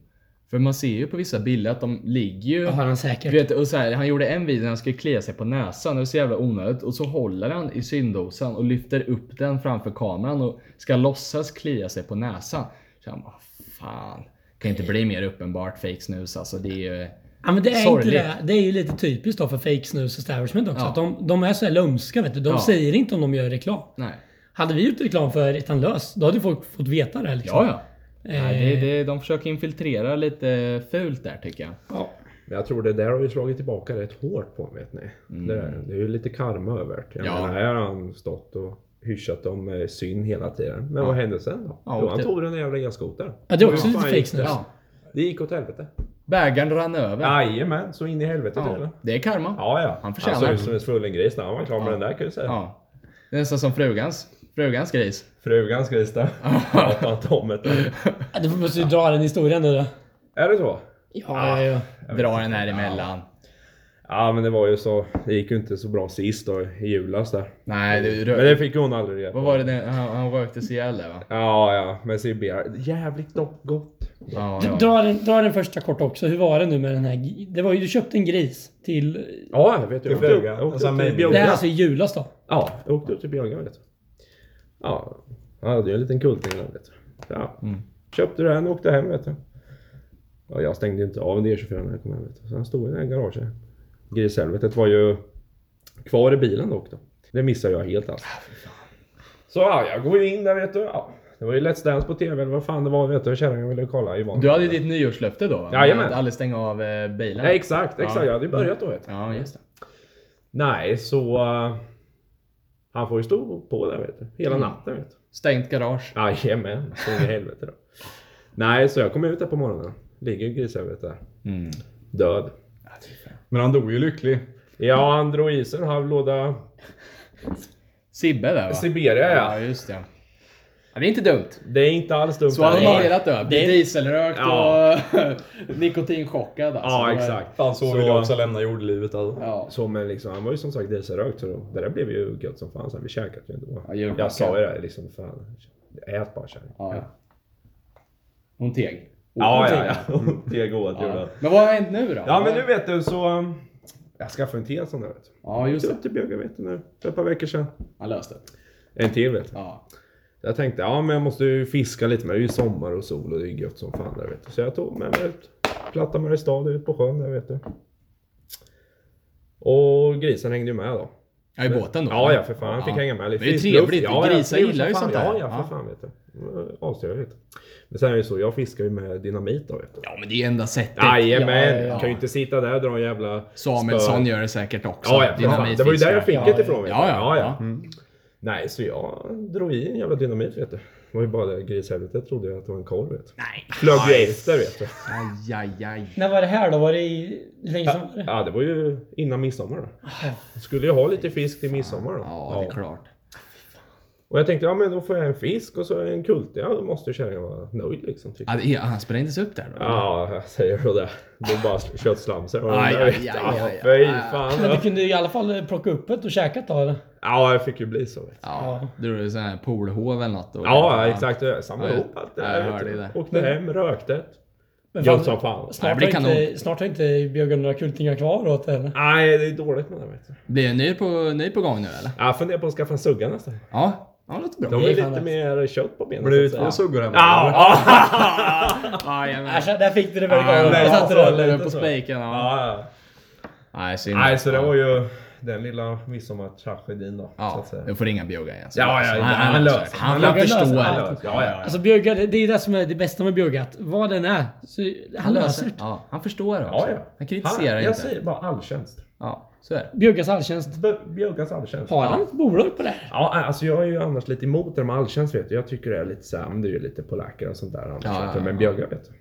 Speaker 3: För man ser ju på vissa bilder att de ligger ju...
Speaker 2: Det har han
Speaker 3: Du
Speaker 2: säkert.
Speaker 3: vet, och så här, han gjorde en video när han skulle klia sig på näsan, det var så jävla onödigt. Och så håller han i syndosan och lyfter upp den framför kameran och ska låtsas klia sig på näsan. Så han bara, fan. Kan inte bli mer uppenbart fake snus alltså. Det är ju...
Speaker 2: Ja, men det är
Speaker 3: Sorgligt.
Speaker 2: inte det. Det är ju lite typiskt då för fake snus establishment också.
Speaker 3: Ja.
Speaker 2: Att de, de är så här lömska vet du. De
Speaker 3: Ja.
Speaker 2: säger inte om de gör reklam.
Speaker 3: Nej.
Speaker 2: Hade vi gjort reklam för ettan lös, då hade folk fått veta det liksom.
Speaker 3: Ja, ja. Nej, det, det, de försöker infiltrera lite fult där tycker jag.
Speaker 2: Ja.
Speaker 1: Men jag tror det där har vi slagit tillbaka rätt hårt på vet ni. Det, där, det är ju lite karma över det. Jag
Speaker 3: Mm. Ja.
Speaker 1: menar, här har han stått och hyschat om eh, syn hela tiden. Men vad hände sen då?
Speaker 3: Ja,
Speaker 1: jo,
Speaker 3: och
Speaker 1: han
Speaker 3: det-
Speaker 1: tog den där jävla elskotern.
Speaker 2: Ja, det är också
Speaker 1: Hur
Speaker 2: lite
Speaker 1: fan
Speaker 2: fake
Speaker 1: gick
Speaker 2: snus.
Speaker 1: det?
Speaker 3: Ja.
Speaker 1: Det gick åt helvete.
Speaker 3: Bägaren rann över.
Speaker 1: Jajamän, så in i helvete
Speaker 3: Ja,
Speaker 1: ja.
Speaker 3: Det är karma.
Speaker 1: Ja, ja.
Speaker 3: Han
Speaker 1: Han,
Speaker 3: förtjänar
Speaker 1: såg
Speaker 3: det.
Speaker 1: ut som en svullen gris när han var klar med
Speaker 3: Ja.
Speaker 1: den där kan jag säga.
Speaker 3: Ja. Det är nästan som frugans, frugans gris.
Speaker 1: Frugans gris där. Prata inte om det.
Speaker 2: Ja, Du måste ju dra den historien nu då.
Speaker 1: Är det så?
Speaker 2: Ja, ja, ja.
Speaker 3: Dra den här emellan.
Speaker 1: Ja men det var ju så. Det gick ju inte så bra sist då i julas där.
Speaker 3: Nej, du
Speaker 1: Men det fick hon aldrig reda på.
Speaker 3: Vad var det den- han, han röktes ihjäl där va?
Speaker 1: Ja ja, men CBR. Jävligt dock gott.
Speaker 3: Ja,
Speaker 2: Du,
Speaker 3: ja.
Speaker 2: dra, den, dra den första kort också. Hur var det nu med den här? gi- Det var ju, du köpte en gris till...
Speaker 1: Ja jag vet. Jag
Speaker 4: Till
Speaker 1: åkte upp,
Speaker 4: Björga.
Speaker 1: jag åkte
Speaker 4: Och sen
Speaker 1: upp
Speaker 4: mig.
Speaker 1: till
Speaker 2: Det här är
Speaker 1: Björga.
Speaker 2: alltså i julas då.
Speaker 1: Ja, jag åkte upp till Björga vet du. Ja, jag hade ju en liten kulting där vet du. Ja.
Speaker 3: Mm.
Speaker 1: Köpte den och åkte hem vet du. Ja, jag stängde ju inte av en D24 när jag kom hem vet du. Så han stod i det här garaget. Grishelvetet var ju kvar i bilen dock då. Det missade jag helt alltså. Så ja, jag går ju in där vet du. Ja, det var ju Let's Dance på TV eller vad fan det var vet du. Kärringen ville kolla i
Speaker 3: Du hade ju ditt nyårslöfte då va?
Speaker 1: Jajamän.
Speaker 3: Att aldrig stänga av eh, bilen.
Speaker 1: Ja, exakt, exakt.
Speaker 3: Ja.
Speaker 1: Jag hade ju börjat då vet du.
Speaker 3: Ja, just det.
Speaker 1: Nej, så... eh, han får ju stå på där vet du. Hela
Speaker 3: Mm.
Speaker 1: natten vet du.
Speaker 3: Stängt garage.
Speaker 1: Jajamän, så in i helvete då. Nej, så jag kom ut där på morgonen. Ligger i grishelvetet där.
Speaker 3: Mm.
Speaker 1: Död.
Speaker 4: Men han dog ju lycklig.
Speaker 1: Ja, han drog i sig en halv låda
Speaker 3: Sibbe där va?
Speaker 1: Siberia ja.
Speaker 3: Ja, just det. Ja, det är inte dumt.
Speaker 1: Det är inte alls dumt.
Speaker 3: Så hade
Speaker 1: här.
Speaker 3: man velat dö. Bli dieselrökt
Speaker 1: Ja.
Speaker 3: och nikotinchockad alltså.
Speaker 1: Ja,
Speaker 3: Det var-
Speaker 1: exakt.
Speaker 4: Fan så vill jag också lämna jordlivet alltså.
Speaker 3: Ja.
Speaker 1: Så men liksom, han var ju som sagt dieselrökt så då, det där blev ju gött som fan. Så här, vi käkade ju ändå.
Speaker 3: Ja, julklockan.
Speaker 1: jag sa ju det liksom, fan. Ät bara kärring.
Speaker 3: Ja. Hon teg.
Speaker 1: Ja, ja, ja. Det är gott gjorde
Speaker 3: Ja.
Speaker 1: han.
Speaker 3: Men vad har hänt nu då?
Speaker 1: Ja, men nu vet du så. um, Jag skaffade en till sån där vet du.
Speaker 3: Ja, just
Speaker 1: Åkte
Speaker 3: det.
Speaker 1: upp till Björga vet du nu, för ett par veckor sedan.
Speaker 3: Han löste det.
Speaker 1: En till vet du.
Speaker 3: Ja.
Speaker 1: Jag tänkte, ja men jag måste ju fiska lite men det är ju sommar och sol och det är gött som fan där vet du. Så jag tog med mig ut. Platta Mariestad ut på sjön där vet du. Och grisen hängde ju med då.
Speaker 3: ja, i båten då?
Speaker 1: Ja, ja för fan. Han fick hänga med lite.
Speaker 3: Det är ju
Speaker 1: Frisk
Speaker 3: trevligt.
Speaker 1: luft. Ja, ja,
Speaker 3: Grisar
Speaker 1: trevligt
Speaker 3: gillar ju
Speaker 1: som
Speaker 3: sånt
Speaker 1: fan.
Speaker 3: där.
Speaker 1: Ja, ja
Speaker 3: Ja.
Speaker 1: för fan vet du. Mm, Astrevligt. Men sen är det ju så, jag fiskar ju med dynamit då vet du.
Speaker 3: Ja, men det är ju enda sättet.
Speaker 1: Jajamän!
Speaker 3: Ja, ja, ja.
Speaker 1: Kan ju inte sitta där och dra en jävla
Speaker 3: Samuelsson
Speaker 1: spö.
Speaker 3: gör det säkert också.
Speaker 1: Ja, ja, för fan. Det var ju där jag fick
Speaker 3: Dynamitfiskare.
Speaker 1: det ifrån. vet du.
Speaker 3: Ja, ja,
Speaker 1: ja.
Speaker 3: ja.
Speaker 1: ja. Mm. Nej, så jag drog i en jävla dynamit vet du. Det var ju bara det grishelvetet trodde jag att det var en korv vet du.
Speaker 3: Nej.
Speaker 1: Flög ju efter vet du.
Speaker 3: Aj, aj, aj.
Speaker 2: När var det här då? Var det i... Hur länge sedan var det?
Speaker 1: Ja, det var ju innan midsommar då. Skulle ju ha lite fisk till midsommar då.
Speaker 3: Ja, det är klart.
Speaker 1: Och jag tänkte, ja men då får jag en fisk och så en kulte. Ja, då måste ju kärringen vara nöjd liksom. Tycker. jag.
Speaker 3: Ja, det är- Han sprängdes upp där då?
Speaker 1: Ja, jag säger så där. Det är bara köttslamsor. och
Speaker 3: Aj,
Speaker 1: den där,
Speaker 3: aj,
Speaker 1: vet du.
Speaker 3: aj,
Speaker 1: Ja,
Speaker 3: aj, aj.
Speaker 1: Fy fan.
Speaker 2: Men du
Speaker 1: ja.
Speaker 2: kunde i alla fall eh, plocka upp ett och käkat då eller?
Speaker 1: Ja, jag fick ju bli så. Vet du.
Speaker 3: Ja. Du gjorde sån här poolhov eller något? då?
Speaker 1: Ja, exakt. Jag samlade
Speaker 3: Ja,
Speaker 1: ihop allt det
Speaker 3: ja, jag
Speaker 1: där.
Speaker 3: hörde
Speaker 1: vet
Speaker 3: det.
Speaker 1: du. Åkte hem, rökte ett.
Speaker 2: Men
Speaker 1: Gött som fan.
Speaker 3: Nej,
Speaker 2: Snart,
Speaker 3: men det
Speaker 2: har
Speaker 3: kan
Speaker 2: inte, snart har inte Björgen några kultingar kvar åt det, eller?
Speaker 1: Nej, det är dåligt med det vet du.
Speaker 3: Blir det ny på, ny på gång nu eller?
Speaker 1: Ja, Jag funderar på att skaffa en sugga nästan.
Speaker 3: Ja, ja det låter bra.
Speaker 1: De är
Speaker 2: fan
Speaker 1: lite mer kött på benen.
Speaker 4: Blir det
Speaker 1: så att
Speaker 4: två
Speaker 1: säga.
Speaker 4: suggor hemma?
Speaker 1: Ja, ja.
Speaker 3: Jajamän.
Speaker 2: Äsch, Alltså, där fick du det
Speaker 3: Ja,
Speaker 2: Björgen.
Speaker 3: men-
Speaker 2: Jag satte det.
Speaker 3: Håller du på
Speaker 1: så.
Speaker 3: spiken? Ja.
Speaker 1: Ja, ja.
Speaker 3: Nej, synd.
Speaker 1: Nej, så det var ju den lilla midsommartragedin då. Så
Speaker 3: Ja,
Speaker 1: att säga.
Speaker 3: du får ringa Björgen igen.
Speaker 1: Ja, ja,
Speaker 3: han,
Speaker 1: han
Speaker 3: han
Speaker 1: löser
Speaker 3: löser det.
Speaker 1: det.
Speaker 3: Han,
Speaker 2: Han
Speaker 3: han
Speaker 2: löser
Speaker 3: förstår.
Speaker 2: det.
Speaker 1: Ja, ja, ja.
Speaker 2: Alltså Björgen, det är det som är det bästa med Björgen. att Vad den är, så han löser det.
Speaker 3: Ja, han förstår också.
Speaker 1: ja, ja.
Speaker 3: Han kritiserar
Speaker 1: jag
Speaker 3: inte.
Speaker 1: säger bara all tjänst.
Speaker 3: Ja. Så är det.
Speaker 2: Bjuggas alltjänst.
Speaker 1: B- Björkans alltjänst.
Speaker 2: Har han ett bolag på det här?
Speaker 1: Ja, alltså jag är ju annars lite emot det med alltjänst vet du. Jag tycker det är lite sämre. Det är ju lite polacker och sånt där. annars,
Speaker 3: Ja,
Speaker 1: vet du.
Speaker 3: ja,
Speaker 1: men
Speaker 3: ja.
Speaker 1: Björka vet du.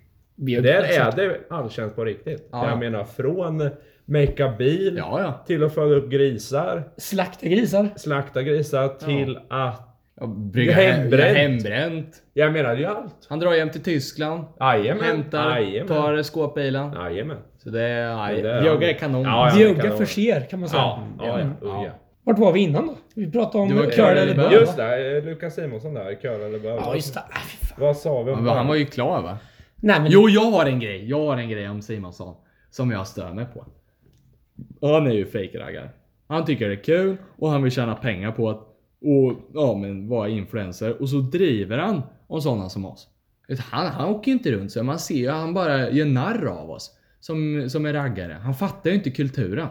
Speaker 2: Björk,
Speaker 1: Där är det alltjänst på riktigt.
Speaker 3: Ja.
Speaker 1: Jag menar från meka bil
Speaker 3: Ja, ja.
Speaker 1: till att föda upp grisar,
Speaker 2: Slakta grisar.
Speaker 1: slakta grisar till att...
Speaker 3: ja brygga
Speaker 1: Hembränt.
Speaker 3: hembränt. hembränt.
Speaker 1: Jag menar det är ju allt.
Speaker 3: Han drar hem till Tyskland.
Speaker 1: Jajamän.
Speaker 3: Hämtar,
Speaker 1: Jajamän.
Speaker 3: tar skåpbilen.
Speaker 1: Jajamän.
Speaker 3: Så det är... aj,
Speaker 1: Det där-
Speaker 3: Björka är kanon.
Speaker 1: Ja, ja. det kan
Speaker 2: Bjugga
Speaker 1: vara.
Speaker 2: förser kan man säga. Mm.
Speaker 1: Ja, ja, ja.
Speaker 3: Mm. Ja.
Speaker 1: Oh, ja.
Speaker 2: Vart var vi innan då? Vi pratade
Speaker 3: Det
Speaker 2: om
Speaker 3: var
Speaker 2: curl
Speaker 3: curl
Speaker 2: eller
Speaker 3: eller bög.
Speaker 2: bög.
Speaker 1: Just
Speaker 2: va?
Speaker 1: det, eh, Lukas Simonsson där. Kör eller bör.
Speaker 2: Ja, just det. Äh, fy fan.
Speaker 1: Vad sa vi om
Speaker 3: Men Han var ju klar va?
Speaker 2: Nej men
Speaker 3: Jo, jag har en grej. Jag har en grej om Simonsson. Som jag stör mig på. Han är ju fejkraggare. Han tycker det är kul och han vill tjäna pengar på att och, ja, men vara influencer. Och så driver han om sådana som oss. Vet du, Han, han åker ju inte runt så. Man ser ju han bara gör narr av oss. Som, som är raggare. Han fattar ju inte kulturen.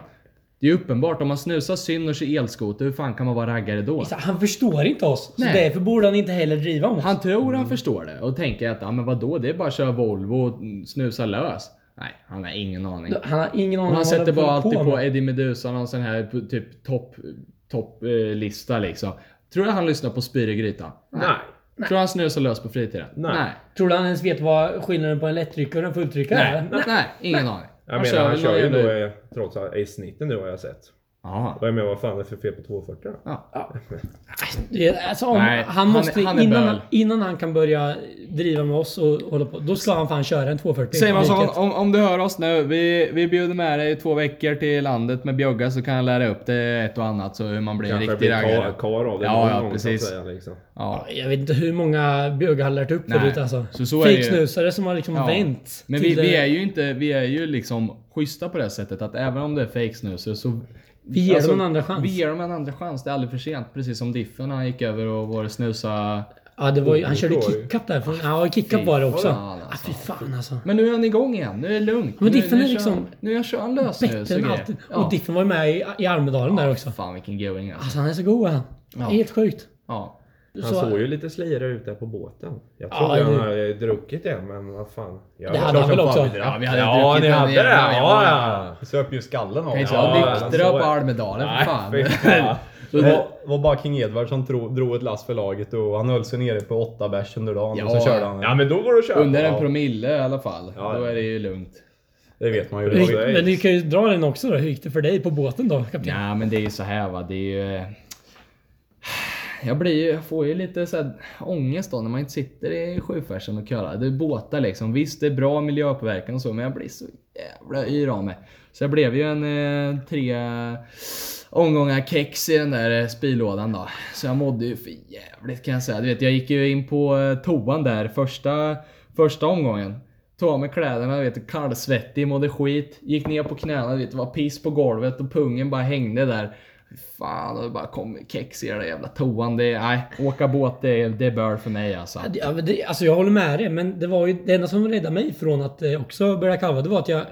Speaker 3: Det är ju uppenbart. Om man snusar synd och kör elskoter, hur fan kan man vara raggare då?
Speaker 2: så han förstår inte oss. Så
Speaker 3: Nej.
Speaker 2: därför borde han inte heller driva om oss.
Speaker 3: Han tror han förstår det och tänker att ja, men vadå, det är bara att köra Volvo och snusa lös. Nej, han har ingen aning.
Speaker 2: Han har ingen aning
Speaker 3: Han
Speaker 2: vad
Speaker 3: sätter
Speaker 2: de
Speaker 3: bara
Speaker 2: håller
Speaker 3: alltid på
Speaker 2: med.
Speaker 3: Eddie Meduza, någon sån här p- typ topplista top, eh, lista liksom. Tror du han lyssnar på Spyr i grytan?
Speaker 1: Nej.
Speaker 3: Tror du han snusar lös på fritiden?
Speaker 1: Nej.
Speaker 3: Nej.
Speaker 2: Tror du han ens vet vad skillnaden på en lättryckare och en fulltryckare
Speaker 3: Nej,
Speaker 2: är?
Speaker 3: nej, ingen aning.
Speaker 1: Jag menar han
Speaker 3: väl
Speaker 1: kör ju
Speaker 3: någon
Speaker 1: då
Speaker 3: jävla-
Speaker 1: eh, trots allt i snitten nu har jag sett.
Speaker 3: Ja.
Speaker 1: Och jag menar vad fan är det för fel på 240 då?
Speaker 3: Ja.
Speaker 2: Det- Alltså, om,
Speaker 3: Nej,
Speaker 2: han
Speaker 3: han-
Speaker 2: måste,
Speaker 3: han är
Speaker 2: innan,
Speaker 3: böl.
Speaker 2: innan han kan börja driva med oss och hålla på, då ska han fan köra en 240.
Speaker 3: Simonsson,
Speaker 2: Vilket-
Speaker 3: om, om du hör oss nu. Vi, vi bjuder med dig två veckor till landet med Bjugga så kan jag lära upp dig ett och annat så hur man blir en
Speaker 1: Kanske
Speaker 3: riktig
Speaker 1: blir
Speaker 3: raggare.
Speaker 1: kar, kar av det
Speaker 3: Ja,
Speaker 1: någon
Speaker 3: ja,
Speaker 1: gång
Speaker 3: precis.
Speaker 1: så att säga. Liksom.
Speaker 3: Ja.
Speaker 2: Jag vet inte hur många bögar har lärt upp
Speaker 3: Nej,
Speaker 2: förut alltså.
Speaker 3: så så är det ju.
Speaker 2: Fejksnusare som har liksom
Speaker 3: Ja.
Speaker 2: vänt.
Speaker 3: Men vi,
Speaker 2: till-
Speaker 3: vi är ju inte, vi är ju liksom schyssta på det här sättet att även om det är fejksnusare så...
Speaker 2: Vi ger dem en andra chans.
Speaker 3: alltså, Vi ger dem en andra chans. Det är aldrig för sent. Precis som Diffen när han gick över och var och snusa.
Speaker 2: Ja, det var ju, han
Speaker 1: Oh,
Speaker 2: körde
Speaker 1: det var det.
Speaker 2: kick-up där. Från, ja, kick-up var det också.
Speaker 3: Ah, fan,
Speaker 2: Ah,
Speaker 3: alltså.
Speaker 2: fy fan alltså.
Speaker 3: Men nu är han igång igen. Nu är det lugnt.
Speaker 2: Men
Speaker 3: nu,
Speaker 2: Diffen
Speaker 3: nu
Speaker 2: är
Speaker 3: kör
Speaker 2: liksom
Speaker 3: han- Nu jag kör han lösnus
Speaker 2: Bättre än
Speaker 3: och Alltså, grejer.
Speaker 2: alltid.
Speaker 3: Ja.
Speaker 2: Och Diffen var ju med i, i Almedalen där också.
Speaker 3: Fan vilken going alltså.
Speaker 2: Alltså han är så god han.
Speaker 3: Ja.
Speaker 2: Helt sjukt.
Speaker 3: Ja.
Speaker 1: Han såg ju lite slirig ut där på båten. Jag
Speaker 2: Ja,
Speaker 1: trodde han
Speaker 2: det-
Speaker 1: hade druckit det, men vad fan. Jag
Speaker 2: Det
Speaker 1: var
Speaker 2: hade han
Speaker 1: klart
Speaker 2: väl
Speaker 1: som fan
Speaker 2: också.
Speaker 1: vi drack.
Speaker 3: Ja, vi hade
Speaker 1: Ja, ni
Speaker 3: druckit en
Speaker 1: hade det?
Speaker 3: jävla-
Speaker 1: Ja, ja.
Speaker 4: Vi söp ju skallen av
Speaker 3: Kan inte
Speaker 1: Ja,
Speaker 3: vara
Speaker 1: ja,
Speaker 3: nyktra
Speaker 1: så
Speaker 3: på
Speaker 1: är det.
Speaker 3: Almedalen för
Speaker 1: Nej,
Speaker 3: fan.
Speaker 1: fy fan.
Speaker 4: Det var, var bara King Edward som tro, drog ett lass för laget och han höll sig nere på åtta bärs under dagen och
Speaker 3: Ja.
Speaker 4: så körde han.
Speaker 1: Ja, men då går det att köra.
Speaker 3: Under en
Speaker 1: Ja.
Speaker 3: promille i alla fall.
Speaker 4: Ja.
Speaker 3: Då är det ju lugnt.
Speaker 4: Det vet man ju.
Speaker 1: Det var ju-
Speaker 2: Men du kan ju dra den också då. Hur gick det för dig på båten då, kapten?
Speaker 3: Nej men det är ju så här va, det är ju... eh, Jag, blir, ju- jag får ju lite så här ångest då när man inte sitter i sjöfärsen och körar. Det är båtar liksom. Visst, det är bra miljöpåverkan och så, men jag blir så jävla yr av mig. Så jag blev ju en eh, tre omgångar kex i den där eh, spylådan då. Så jag mådde ju för jävligt kan jag säga. Du vet, jag gick ju in på eh, toan där första, första omgången. Tog av mig kläderna, du vet, kallsvettig, mådde skit. Gick ner på knäna, du vet, det var piss på golvet och pungen bara hängde där. Fy Fan, och det bara kom kex i den där jävla toan. Det, är- nej, åka båt det, är- det är bör för mig alltså.
Speaker 2: Ja, det- Ja, men det, alltså jag håller med dig, men det var ju det enda som räddade mig från att eh, också börja kalva, det var att jag...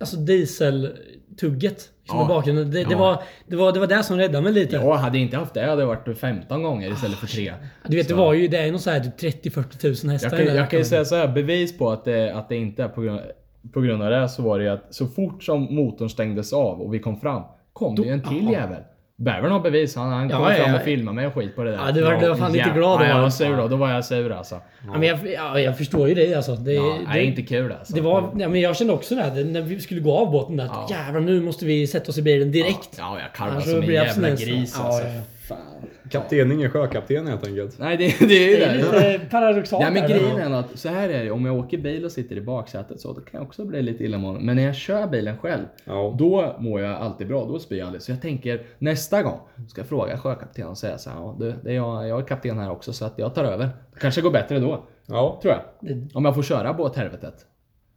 Speaker 2: Alltså dieseltugget liksom
Speaker 3: Ja.
Speaker 2: i bakgrunden. Det, det,
Speaker 3: Ja.
Speaker 2: var, det, var, det var det som räddade mig lite.
Speaker 3: Jag hade jag inte haft det jag hade det varit 15 gånger istället för 3.
Speaker 2: Ah, Du vet, det var ju det är ju någon så här typ 30-40 000 hästar
Speaker 3: Jag
Speaker 2: i
Speaker 3: kan,
Speaker 2: den här
Speaker 3: jag kan ju
Speaker 2: rackaren.
Speaker 3: säga så här, bevis på att det, att det inte är på grund, på grund av det så var det ju att så fort som motorn stängdes av och vi kom fram kom det ju en till jävel. Bävern har bevis. Han, han
Speaker 2: Ja,
Speaker 3: kom
Speaker 2: ja,
Speaker 3: fram
Speaker 2: ja.
Speaker 3: och filmade mig och skit på det där.
Speaker 2: Ja, du var- du var fan lite glad då,
Speaker 3: Ja, jag
Speaker 2: va?
Speaker 3: var sur då. Då var jag sur alltså.
Speaker 2: Ja, men jag, ja, jag förstår ju dig alltså. Det,
Speaker 3: Ja,
Speaker 2: det,
Speaker 3: nej, inte kul alltså.
Speaker 2: det var, ja, men jag kände också det, här, det när vi skulle gå av båten där.
Speaker 3: Ja.
Speaker 2: att Jävlar nu måste vi sätta oss i bilen direkt.
Speaker 3: Ja, jag karvade
Speaker 2: Annars
Speaker 3: som en
Speaker 2: blir
Speaker 3: jävla
Speaker 2: abstinens.
Speaker 3: gris
Speaker 2: Ja,
Speaker 3: alltså.
Speaker 2: ja, ja.
Speaker 3: Fan.
Speaker 4: Kapten är ingen sjökapten helt enkelt.
Speaker 3: Nej, det, det är ju
Speaker 2: Det är
Speaker 3: det.
Speaker 2: lite paradoxalt.
Speaker 3: Ja, men
Speaker 2: där.
Speaker 3: grejen är att så här är det. Om jag åker bil och sitter i baksätet så då kan jag också bli lite illamående. Men när jag kör bilen själv,
Speaker 4: Ja.
Speaker 3: då mår jag alltid bra. Då spyr jag aldrig. Så jag tänker nästa gång ska jag fråga sjökaptenen och säga så här. "Ja, Du, det är jag, jag är kapten här också så att jag tar över. Det kanske går bättre då.
Speaker 4: Ja.
Speaker 3: Tror jag.
Speaker 2: Det-
Speaker 3: Om jag får köra båthelvetet.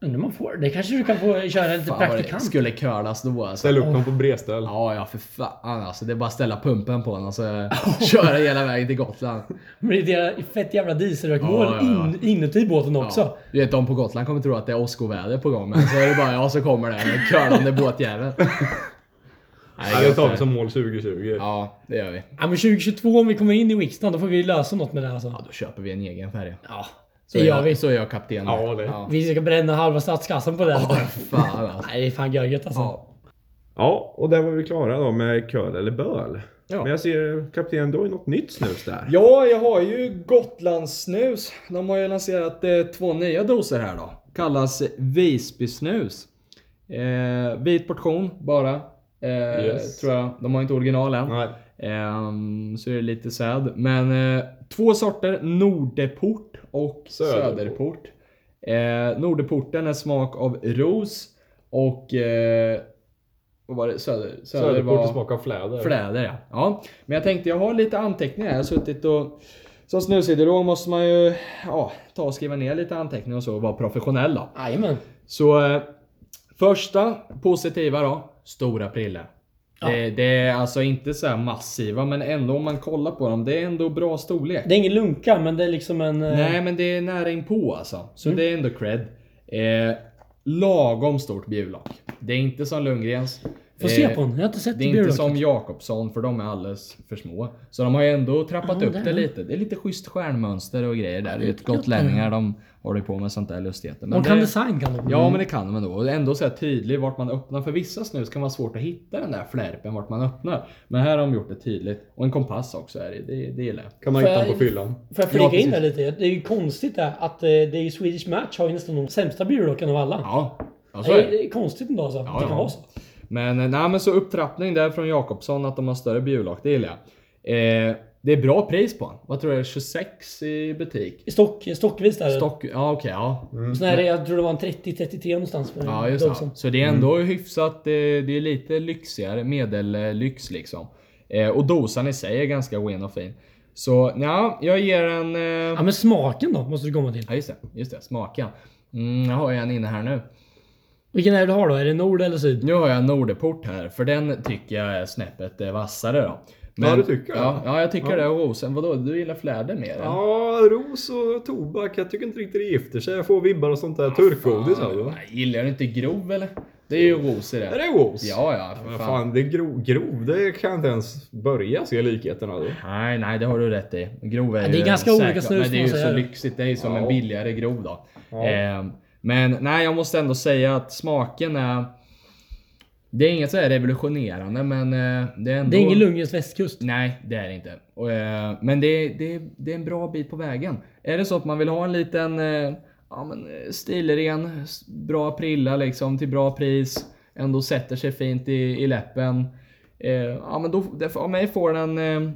Speaker 2: Undrar om man får. Det kanske du kan få köra lite
Speaker 3: Fan vad det
Speaker 2: praktikant.
Speaker 3: skulle curlas då alltså.
Speaker 4: Ställ upp dem på bredställ.
Speaker 3: Ja, ja för fan alltså. Det är bara att ställa pumpen på den och så köra hela vägen till Gotland.
Speaker 2: Men det är ett fett jävla dieselrökmål
Speaker 3: Ja, ja,
Speaker 2: In, inuti båten också.
Speaker 3: Ja. Du vet, de på Gotland kommer tro att det är åskoväder på gång, men så är det bara jag som kommer där med curlande båtjävel.
Speaker 4: Ja, det tar vi som mål 2020.
Speaker 3: Ja, det gör vi.
Speaker 2: Ja, men 2022 om vi kommer in i Wickston då får vi lösa något med det alltså.
Speaker 3: Ja, då köper vi en egen färja.
Speaker 2: Ja,
Speaker 3: Så
Speaker 2: det
Speaker 3: är
Speaker 2: gör
Speaker 3: jag,
Speaker 2: vi.
Speaker 3: så är jag kapten.
Speaker 4: Ja, det-
Speaker 2: Vi ska bränna halva statskassan på det.
Speaker 3: Fan alltså.
Speaker 2: Nej, det är fan görgött alltså.
Speaker 3: Ja.
Speaker 1: Ja, och där var vi klara då med köl eller böl.
Speaker 3: Ja.
Speaker 1: Men jag ser kapten, du har ju något nytt snus där.
Speaker 3: Ja, jag har ju Gotlandssnus. De har ju lanserat eh, två nya doser här då. Kallas Visbysnus. Eh, vit portion bara. Eh,
Speaker 4: Yes.
Speaker 3: Tror jag. De har inte original än.
Speaker 4: Nej.
Speaker 3: Ehm, så är det lite säd. Men eh, två sorter. Nordeport och
Speaker 4: Söderport.
Speaker 3: Söderport. Eh, Nordeporten är smak av ros och... Eh, vad var det? Söder, söder
Speaker 4: Söderport
Speaker 3: var-
Speaker 4: och smak av fläder.
Speaker 3: Fläder ja. ja. Men jag tänkte, jag har lite anteckningar. Jag har suttit och... Som snusideolog måste man ju ja, ta och skriva ner lite anteckningar och så och vara professionell då.
Speaker 2: Jajamän.
Speaker 3: Så eh, första positiva då. Stora priller. Det, det är alltså inte så här massiva men ändå om man kollar på dem. Det är ändå bra storlek.
Speaker 2: Det är ingen lunka, men det Mm. är liksom en... eh,
Speaker 3: Nej men det är nära inpå alltså. Så det är ändå cred. Eh, lagom stort bjuvlock. Det är inte som Lundgrens.
Speaker 2: Får se
Speaker 3: Eh,
Speaker 2: på den. Jag har inte sett
Speaker 3: det är inte
Speaker 2: björlocket.
Speaker 3: som Jakobsson för de är alldeles för små. Så de har ju ändå trappat
Speaker 2: Ja,
Speaker 3: upp
Speaker 2: det är
Speaker 3: det
Speaker 2: det.
Speaker 3: lite. Det är lite schysst stjärnmönster och grejer där. Det är ju
Speaker 2: lite gött
Speaker 3: gotlänningar de håller ju på med sånt där lustigheter. Men
Speaker 2: De kan
Speaker 3: det-
Speaker 2: design kan de.
Speaker 4: Mm.
Speaker 2: Mm.
Speaker 3: Ja men det kan de ändå. Och ändå så här tydligt vart man öppnar. För vissa snus kan vara svårt att hitta den där flärpen vart man öppnar. Men här har de gjort det tydligt. Och en kompass också är det. Det, det gillar jag.
Speaker 4: Kan man
Speaker 2: För-
Speaker 4: hitta den på fyllan.
Speaker 2: Får jag flika in
Speaker 3: precis.
Speaker 2: där lite? Det är ju konstigt det att eh, det är ju Swedish Match har ju nästan de sämsta björlocken av alla.
Speaker 3: Ja, ja så
Speaker 2: det,
Speaker 3: är
Speaker 2: är,
Speaker 3: det.
Speaker 2: det är konstigt ändå alltså.
Speaker 3: Ja,
Speaker 2: det kan
Speaker 3: ja.
Speaker 2: vara så.
Speaker 3: Men eh, nej men så upptrappning där från Jakobsson att de har större bjuvlock. Det gillar jag. Eh, det är bra pris på den. Vad tror du? 26 i butik?
Speaker 2: I Stock, stockvis där. Mm.
Speaker 3: Stock... Ja okej, ja.
Speaker 2: Sån här, jag tror det var en 30-33 någonstans. på
Speaker 4: Eh,
Speaker 3: Ja just det.
Speaker 2: Dobson.
Speaker 3: Så det är ändå
Speaker 4: Mm.
Speaker 3: hyfsat, eh, det är lite lyxigare, medellyx liksom. Eh, och dosan i sig är ganska wen och fin. Så ja, jag ger en... eh,
Speaker 2: Ja men smaken då, måste du komma till.
Speaker 3: Ja just det, just det, smaka. Mm, jag har ju en inne här nu.
Speaker 2: Vilken är det du har då? Är det nord eller syd?
Speaker 3: Nu har jag en Nordeport här, för den tycker jag är snäppet eh, vassare då.
Speaker 4: Ja, du tycker
Speaker 3: ja,
Speaker 4: det?
Speaker 3: ja, jag tycker det. Och rosen, vadå? Du gillar fläder mer? eller?
Speaker 4: Ja, ros och tobak. Jag tycker inte riktigt det gifter sig. Jag får vibbar och sånt där. Turkgodis
Speaker 3: Ja,
Speaker 4: alltså.
Speaker 3: nej, gillar du inte grov eller? Det är ju ros i det.
Speaker 4: Är det ros?
Speaker 3: Ja, ja. För
Speaker 4: Men
Speaker 3: fan.
Speaker 4: fan, det är grov, grov. Det kan jag inte ens börja se likheterna då.
Speaker 3: Nej, nej, det har du rätt i. Grov är
Speaker 2: Ja, det är
Speaker 3: ju
Speaker 2: ganska
Speaker 3: säkert,
Speaker 2: olika snus,
Speaker 3: Men det är ju
Speaker 2: man
Speaker 3: så
Speaker 2: säger.
Speaker 3: lyxigt. Det är ju som en
Speaker 4: Ja.
Speaker 3: billigare grov då.
Speaker 4: Ja.
Speaker 3: Ehm, men nej, jag måste ändå säga att smaken är... Det är inget så här revolutionerande, men eh, det är ändå...
Speaker 2: Det är ingen Lundgrens västkust.
Speaker 3: Nej, det är det inte. Och, eh, men det, är- det, är- det är en bra bit på vägen. Är det så att man vill ha en liten eh, ja, men, eh, stilren, s- bra prilla liksom till bra pris, ändå sätter sig fint i, i läppen. Eh, ja, men då, det, av mig får den eh,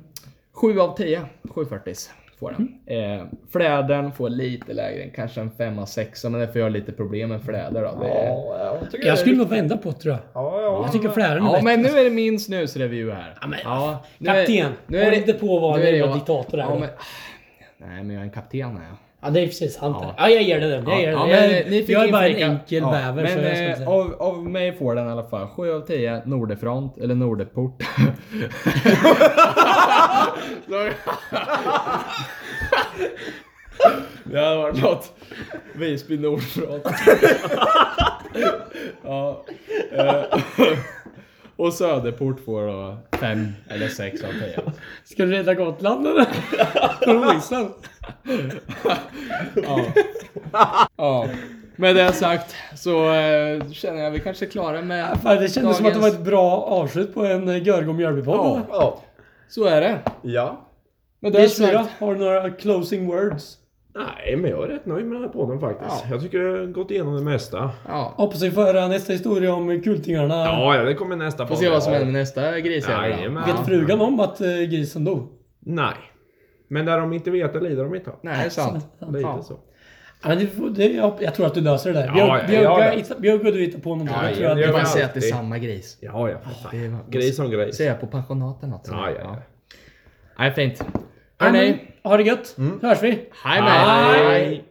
Speaker 3: 7 av 10. 740 får den. Eh, flädern får lite lägre, kanske en 5 av 6 men det får jag lite problem med fläder då. Det,
Speaker 4: jag tycker
Speaker 2: Jag skulle nog vända på det, tror jag.
Speaker 4: Ja, ja.
Speaker 2: Jag tycker flären är
Speaker 3: Mm. Ja,
Speaker 2: bättre.
Speaker 3: men nu är det min snusreview här.
Speaker 2: Ja, men-
Speaker 3: nu är-
Speaker 2: Kapten,
Speaker 3: nu är
Speaker 2: håll
Speaker 3: det-
Speaker 2: inte på att vara
Speaker 3: nu
Speaker 2: en
Speaker 3: är det
Speaker 2: jävla
Speaker 3: jag.
Speaker 2: diktator här
Speaker 3: Ja,
Speaker 2: då.
Speaker 3: men, nej, men jag är en kapten här.
Speaker 2: Ja, det är precis sant. Ja, ja jag ger det den. Jag ger det. jag, jag är bara en enkel bäver. så jag ska inte
Speaker 3: Men eh,
Speaker 2: säga.
Speaker 3: av, av mig får den i alla fall 7 av 10 Nordefront, eller Nordeport. det hade varit något. Visby Nordfront. ja, eh, och Söderport får då 5 eller 6 av 10.
Speaker 2: Ska du rädda Gotland eller? Från isen?
Speaker 3: Ja. ja. Med det sagt så eh, känner jag vi kanske är klara med
Speaker 2: Fan, det kändes som att det var
Speaker 3: dagens-
Speaker 2: ett bra avslut på en eh, Görgo Mjölby-podd. eller?
Speaker 4: Ja.
Speaker 3: Så är det.
Speaker 4: ja.
Speaker 3: Med det
Speaker 2: Dels fyra,
Speaker 3: sagt.
Speaker 2: har du några closing words?
Speaker 1: Nej, men jag är rätt nöjd med den här podden faktiskt. Jag tycker jag har gått igenom det mesta.
Speaker 3: Ja.
Speaker 2: Hoppas vi får höra nästa historia om kultingarna.
Speaker 1: Ja, ja, det kommer nästa
Speaker 3: Får
Speaker 1: podd.
Speaker 3: se vad som händer med nästa gris här.
Speaker 1: Jajamän.
Speaker 2: Vet frugan om att eh, grisen dog?
Speaker 1: Nej. Men när de inte vet, det lider de inte av.
Speaker 3: Nej, det är sant.
Speaker 1: Lite
Speaker 3: Ja.
Speaker 1: så.
Speaker 2: Ja, men det, får- det, jag, jag tror att du löser det där.
Speaker 1: Ja,
Speaker 2: Björk,
Speaker 1: jag gör
Speaker 2: Björk,
Speaker 1: det.
Speaker 2: hitta- Björk och du hittar på någonting.
Speaker 1: Ja,
Speaker 2: jag tror
Speaker 1: jag
Speaker 2: att
Speaker 1: gör
Speaker 2: det,
Speaker 3: Jag kan
Speaker 1: alltid.
Speaker 3: säga att det är samma gris.
Speaker 1: Ja, ja. för
Speaker 3: det är-
Speaker 1: fan. Gris som gris.
Speaker 3: Ser jag på pensionaten något
Speaker 1: Ja, ja, ja.
Speaker 3: Nej, fint.
Speaker 2: Ja, men,
Speaker 3: Hörni.
Speaker 2: ha det gött. Hörs vi.
Speaker 3: Hej med er.
Speaker 2: Hej.